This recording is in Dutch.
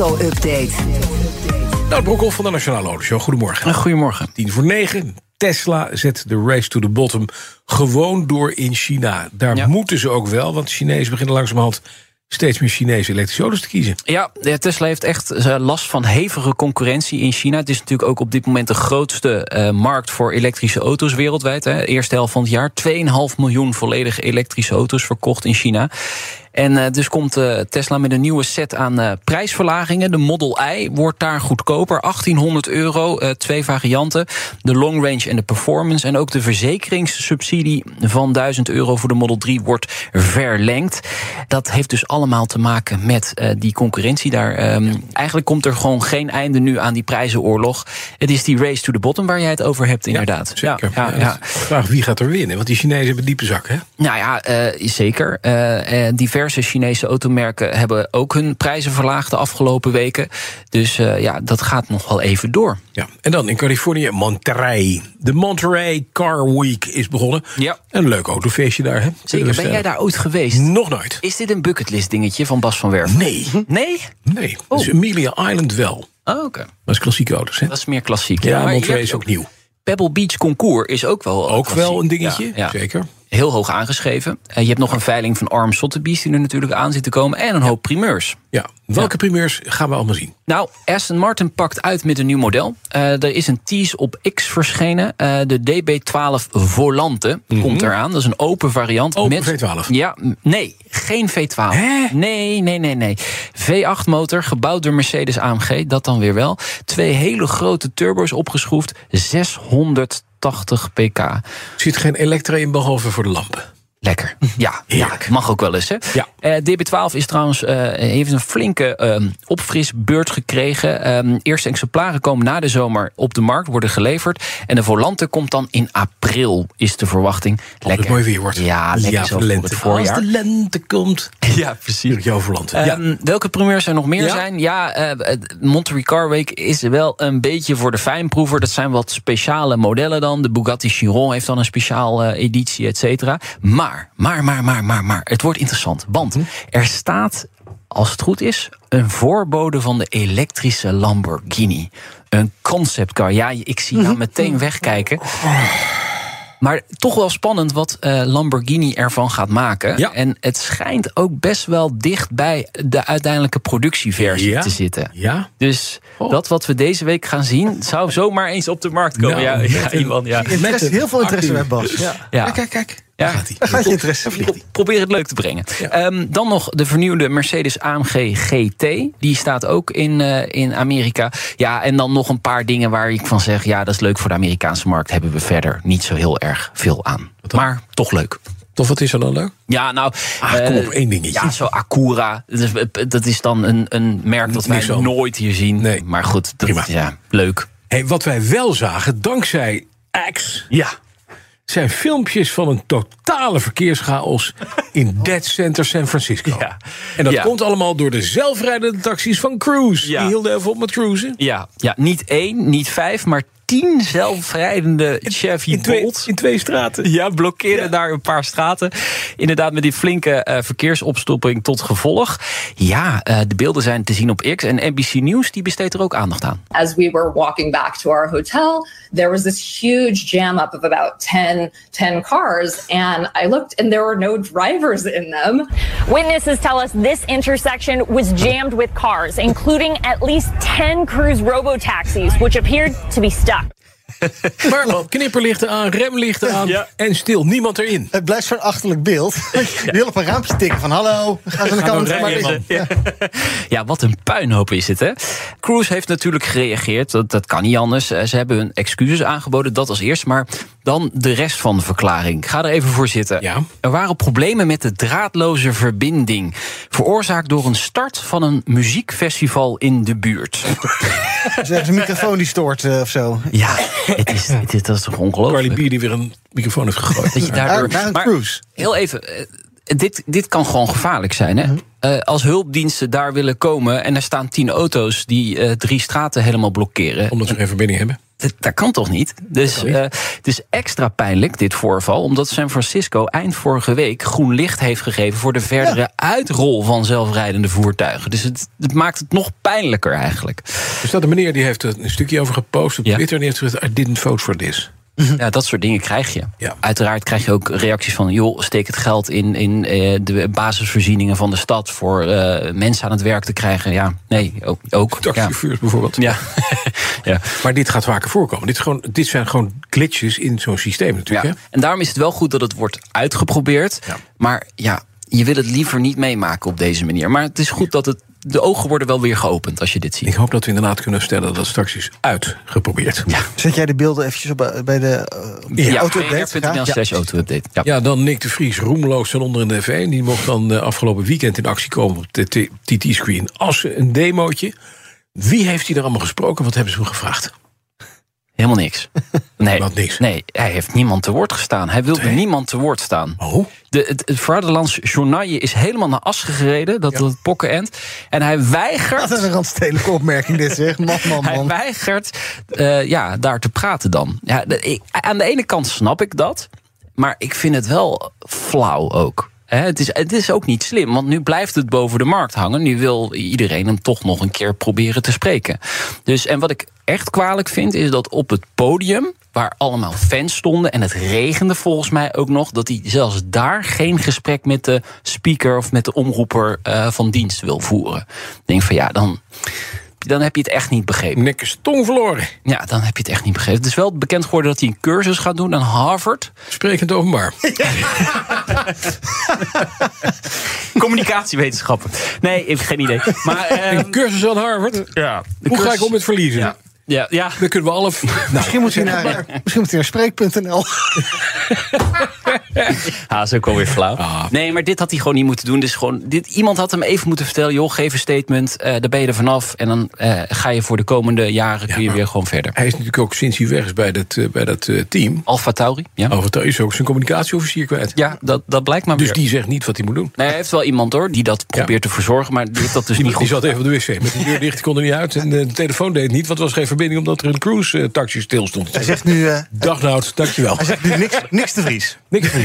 Auto-update. Nou, Broekhoff van de Nationale Autoshow. Goedemorgen. Goedemorgen. 10 voor 9. Tesla zet de race to the bottom gewoon door in China. Daar Ja. moeten ze ook wel, want de Chinezen beginnen langzamerhand steeds meer Chinese elektrische auto's te kiezen. Ja, de Tesla heeft echt eh, last van hevige concurrentie in China. Het is natuurlijk ook op dit moment de grootste eh, markt voor elektrische auto's wereldwijd. Hè. Eerste helft van het jaar 2,5 miljoen volledig elektrische auto's verkocht in China. En eh, dus komt eh, Tesla met een nieuwe set aan eh, prijsverlagingen. De Model I wordt daar goedkoper, 1800 euro, eh, twee varianten. De Long Range en de Performance. En ook de verzekeringssubsidie van 1000 euro voor de Model 3 wordt verlengd. Dat heeft dus allemaal te maken met eh, die concurrentie daar. Ehm, Eigenlijk komt er gewoon geen einde nu aan die prijzenoorlog. Het is die race to the bottom waar jij het over hebt, inderdaad. Zeker. dus Ja, ja, ja. Vraag wie gaat er winnen, want die Chinezen hebben diepe zak, hè? Nou ja, eh, zeker. Eh, eh, diverse Chinese automerken hebben ook hun prijzen verlaagd de afgelopen weken. Dus eh, ja, dat gaat nog wel even door. Ja. En dan in Californië, Monterey. De Monterey Car Week is begonnen. Ja. Een leuk autofeestje daar, hè? Zeker. Ben jij daar ooit geweest? Nog nooit. Is dit een bucketlist dingetje van Bas van Werven? Nee. Nee? Nee. Dus Amelia Island wel. Oh, Oké. Dat is klassieke auto's, hè? Dat is meer klassiek. Ja, maar je Monterey hebt is ook nieuw. Pebble Beach Concours is ook wel. Ook klassiek. wel een dingetje, Ja, ja. zeker. Heel hoog aangeschreven. Eh, je hebt nog een veiling van Arm Sotheby's die er natuurlijk aan zit te komen. En een hoop primeurs. Ja. Welke primeurs gaan we allemaal zien? Nou, Aston Martin pakt uit met een nieuw model. Eh, er is een tease op X verschenen. Eh, de DB12 Volante komt eraan. Dat is een open variant. Mhm. Open V12. Ja, m- nee, geen V12. Hè? Nee, nee, nee, nee. V8 motor, gebouwd door Mercedes AMG. Dat dan weer wel. Twee hele grote turbo's opgeschroefd. 680 pk. Er zit geen elektra in, behalve voor de lampen. Lekker. Ja, ja, Mhm. Heerlijk. mag ook wel eens. Hè? Ja. Eh, DB12 is trouwens, eh, heeft een flinke ehm, opfrisbeurt gekregen. Ehm, eerste exemplaren komen na de zomer op de markt, worden geleverd. En de Volante komt dan in april, is de verwachting. Lekker. het Oh, mooi weer wordt. Ja, lekker ja, zo voor de voor lente. het voorjaar. Als de lente komt, Ja, precies. natuurlijk jouw verlanten. Ja. Ehm, welke primeurs er nog meer Ja? zijn? Ja, eh het Monterey Car Week is wel een beetje voor de fijnproever. Dat zijn wat speciale modellen dan. De Bugatti Chiron heeft dan een speciaal eh, editie, et cetera. Maar, maar, maar, maar, maar, maar. Het wordt interessant. Want Mhm. er staat, als het goed is, een voorbode van de elektrische Lamborghini. Een conceptcar. Ja, ik zie jou meteen wegkijken. Maar toch wel spannend wat eh, Lamborghini ervan gaat maken. Ja. En het schijnt ook best wel dicht bij de uiteindelijke productieversie Ja? te zitten. Ja? Dus Oh. dat wat we deze week gaan zien, zou zomaar eens op de markt komen. Nou, ja, met ja, een- iemand, ja. Met Interesse, een Dus heel veel interesse bij actieve- Bas. Ja. Ja. Kijk, kijk, kijk. Ja. Daar gaat hij. Daar gaat je interesse vliegen. Probeer het leuk te brengen. Ja. Ehm, dan nog de vernieuwde Mercedes AMG GT. Die staat ook in, eh, in Amerika. Ja, en dan nog een paar dingen waar ik van zeg... ja, dat is leuk voor de Amerikaanse markt. Hebben we verder niet zo heel erg veel aan. Maar toch leuk. Toch, wat is er dan leuk? Ja, nou. Ah, kom eh, op, één dingetje. Ja, zo Acura. Dat is, eh, dat is dan een, een merk dat wij Niks over. nooit hier zien. Nee. Maar goed, dat, Prima. ja, leuk. Hey, wat wij wel zagen, dankzij X, Ja. zijn filmpjes van een totale verkeerschaos in Dead Center San Francisco. Ja. En dat Ja. komt allemaal door de zelfrijdende taxis van Cruise. Ja. Die hielden even op met cruisen. Ja, ja, niet één, niet vijf, maar tien zelfrijdende Chevy In twee, Bolt. in twee straten. Ja, blokkeerden daar een paar straten. Inderdaad, met die flinke eh, verkeersopstopping tot gevolg. Ja, eh, de beelden zijn te zien op X. En NBC News die besteedt er ook aandacht aan. as we were walking back to our hotel, there was this huge jam up of about 10, 10 cars. And I looked and there were no drivers in them. Witnesses tell us this intersection was jammed with cars, including at least 10 cruise robotaxis, which appeared to be stuck. Maar knipperlichten aan, remlichten aan Ja. en stil, niemand erin. Het blijft zo'n achterlijk beeld. Je wil op een raampje tikken van hallo, ga eens aan de kant. rijden, Maar dit- man. ja. Ja, wat een puinhoop is het, hè? Cruise heeft natuurlijk gereageerd. Dat, dat kan niet anders. Eh, Ze hebben hun excuses aangeboden, dat als eerst. Maar dan de rest van de verklaring. Ik Ga er even voor zitten. Ja. Er waren problemen met de draadloze verbinding. Veroorzaakt door een start van een muziekfestival in de buurt. Dus ergens een microfoon die stoort eh, of zo. Ja, het is, het is, dat is toch Carly ongelooflijk? Bier die weer een microfoon heeft gegooid. Dat je daardoor... Daar- daar een maar cruise. Heel even, eh, dit, dit kan gewoon gevaarlijk zijn. Hè? Uh-huh. Eh, als hulpdiensten daar willen komen en er staan tien auto's die eh, drie straten helemaal blokkeren. Omdat ze geen verbinding hebben. Dat, dat kan toch niet? Dus eh, het is extra pijnlijk, dit voorval, omdat San Francisco eind vorige week groen licht heeft gegeven voor de verdere uitrol van zelfrijdende voertuigen. Dus het, het maakt het nog pijnlijker eigenlijk. Er staat een Dus meneer die heeft er een stukje over gepost op Ja. Twitter. En die heeft gezegd: I didn't vote for this. Ja, dat soort dingen krijg je. Ja. Uiteraard krijg je ook reacties van... joh, steek het geld in, in eh, de basisvoorzieningen van de stad... voor eh, mensen aan het werk te krijgen. Ja, nee, ook. ook ja. Taxichauffeurs bijvoorbeeld. Ja. ja. Maar dit gaat vaker voorkomen. Dit, is gewoon, dit zijn gewoon glitches in zo'n systeem natuurlijk. Ja. En daarom is het wel goed dat het wordt uitgeprobeerd. Ja. Maar ja, je wil het liever niet meemaken op deze manier. Maar het is goed dat het, de ogen worden wel weer geopend als je dit Hè? Ik ziet. hoop dat we inderdaad kunnen stellen dat het straks is uitgeprobeerd. Ja, Zet jij de beelden eventjes op, eh, bij de eh, Ja. auto-update? BNR.nl Ja. slash auto-update. Ja. ja dan Nick de Vries, roemloos van onder in de F1. Die mocht dan eh, afgelopen weekend in actie komen op de TT-screen. Als een demootje. Wie heeft hij daar allemaal gesproken? Wat hebben ze hem gevraagd? Helemaal niks. Nee, Wat niks? nee, hij heeft niemand te woord gestaan. Hij wilde Nee. niemand te woord staan. Oh, De, het, het Vaderlands Journaille is helemaal naar Assen gereden. Dat, dat pokkenend. En hij weigert... Wat een randstedelijke opmerking dit zeg. Man, man, Hij man. weigert eh, ja, daar te praten dan. Ja, de- ik- aan de ene kant snap ik dat. Maar ik vind het wel flauw ook. Hè, het, is, het is ook niet slim, want nu blijft het boven de markt hangen. Nu wil iedereen hem toch nog een keer proberen te spreken. Dus, en wat ik echt kwalijk vind, is dat op het podium... waar allemaal fans stonden en het regende volgens mij ook nog... dat hij zelfs daar geen gesprek met de speaker of met de omroeper eh, van dienst wil voeren. Ik denk van ja, dan, dan heb je het echt niet begrepen. Nick is tong verloren. Ja, dan heb je het echt niet begrepen. Het is wel bekend geworden dat hij een cursus gaat doen aan Harvard. Sprekend openbaar. Communicatiewetenschappen. Nee, ik heb geen idee. Maar ehm, Een cursus aan Harvard. ja, de Hoe ga cursus- ik om met verliezen? Ja, ja, ja. Dan kunnen we alle... Nou, Misschien moet hij naar, misschien moet hij naar spreek.nl. Ah, is ook alweer flauw. Nee, maar dit had hij gewoon niet moeten doen. Dus gewoon, dit, iemand had hem even moeten vertellen... joh, geef een statement, eh daar ben je er vanaf... en dan eh, ga je voor de komende jaren kun je weer gewoon verder. hij is natuurlijk ook sinds hij weg is bij dat, eh, bij dat eh, team... Alfa Tauri, ja. Over daar is ook zijn communicatieofficier kwijt. Ja, dat, dat blijkt maar Dus weer. die zegt niet wat hij moet doen. Nee, hij heeft wel iemand hoor, die dat probeert te verzorgen... maar die heeft dat dus Die, niet goed zat even op de wc met de deur dicht, die kon er niet uit. En eh, de telefoon deed het niet, want er was geen verbinding... omdat er een cruise-taxi stil stond. Hij zegt nu, eh, Dag Nout, dankjewel. hij zegt nu niks, niks te Vries. Niks Vries.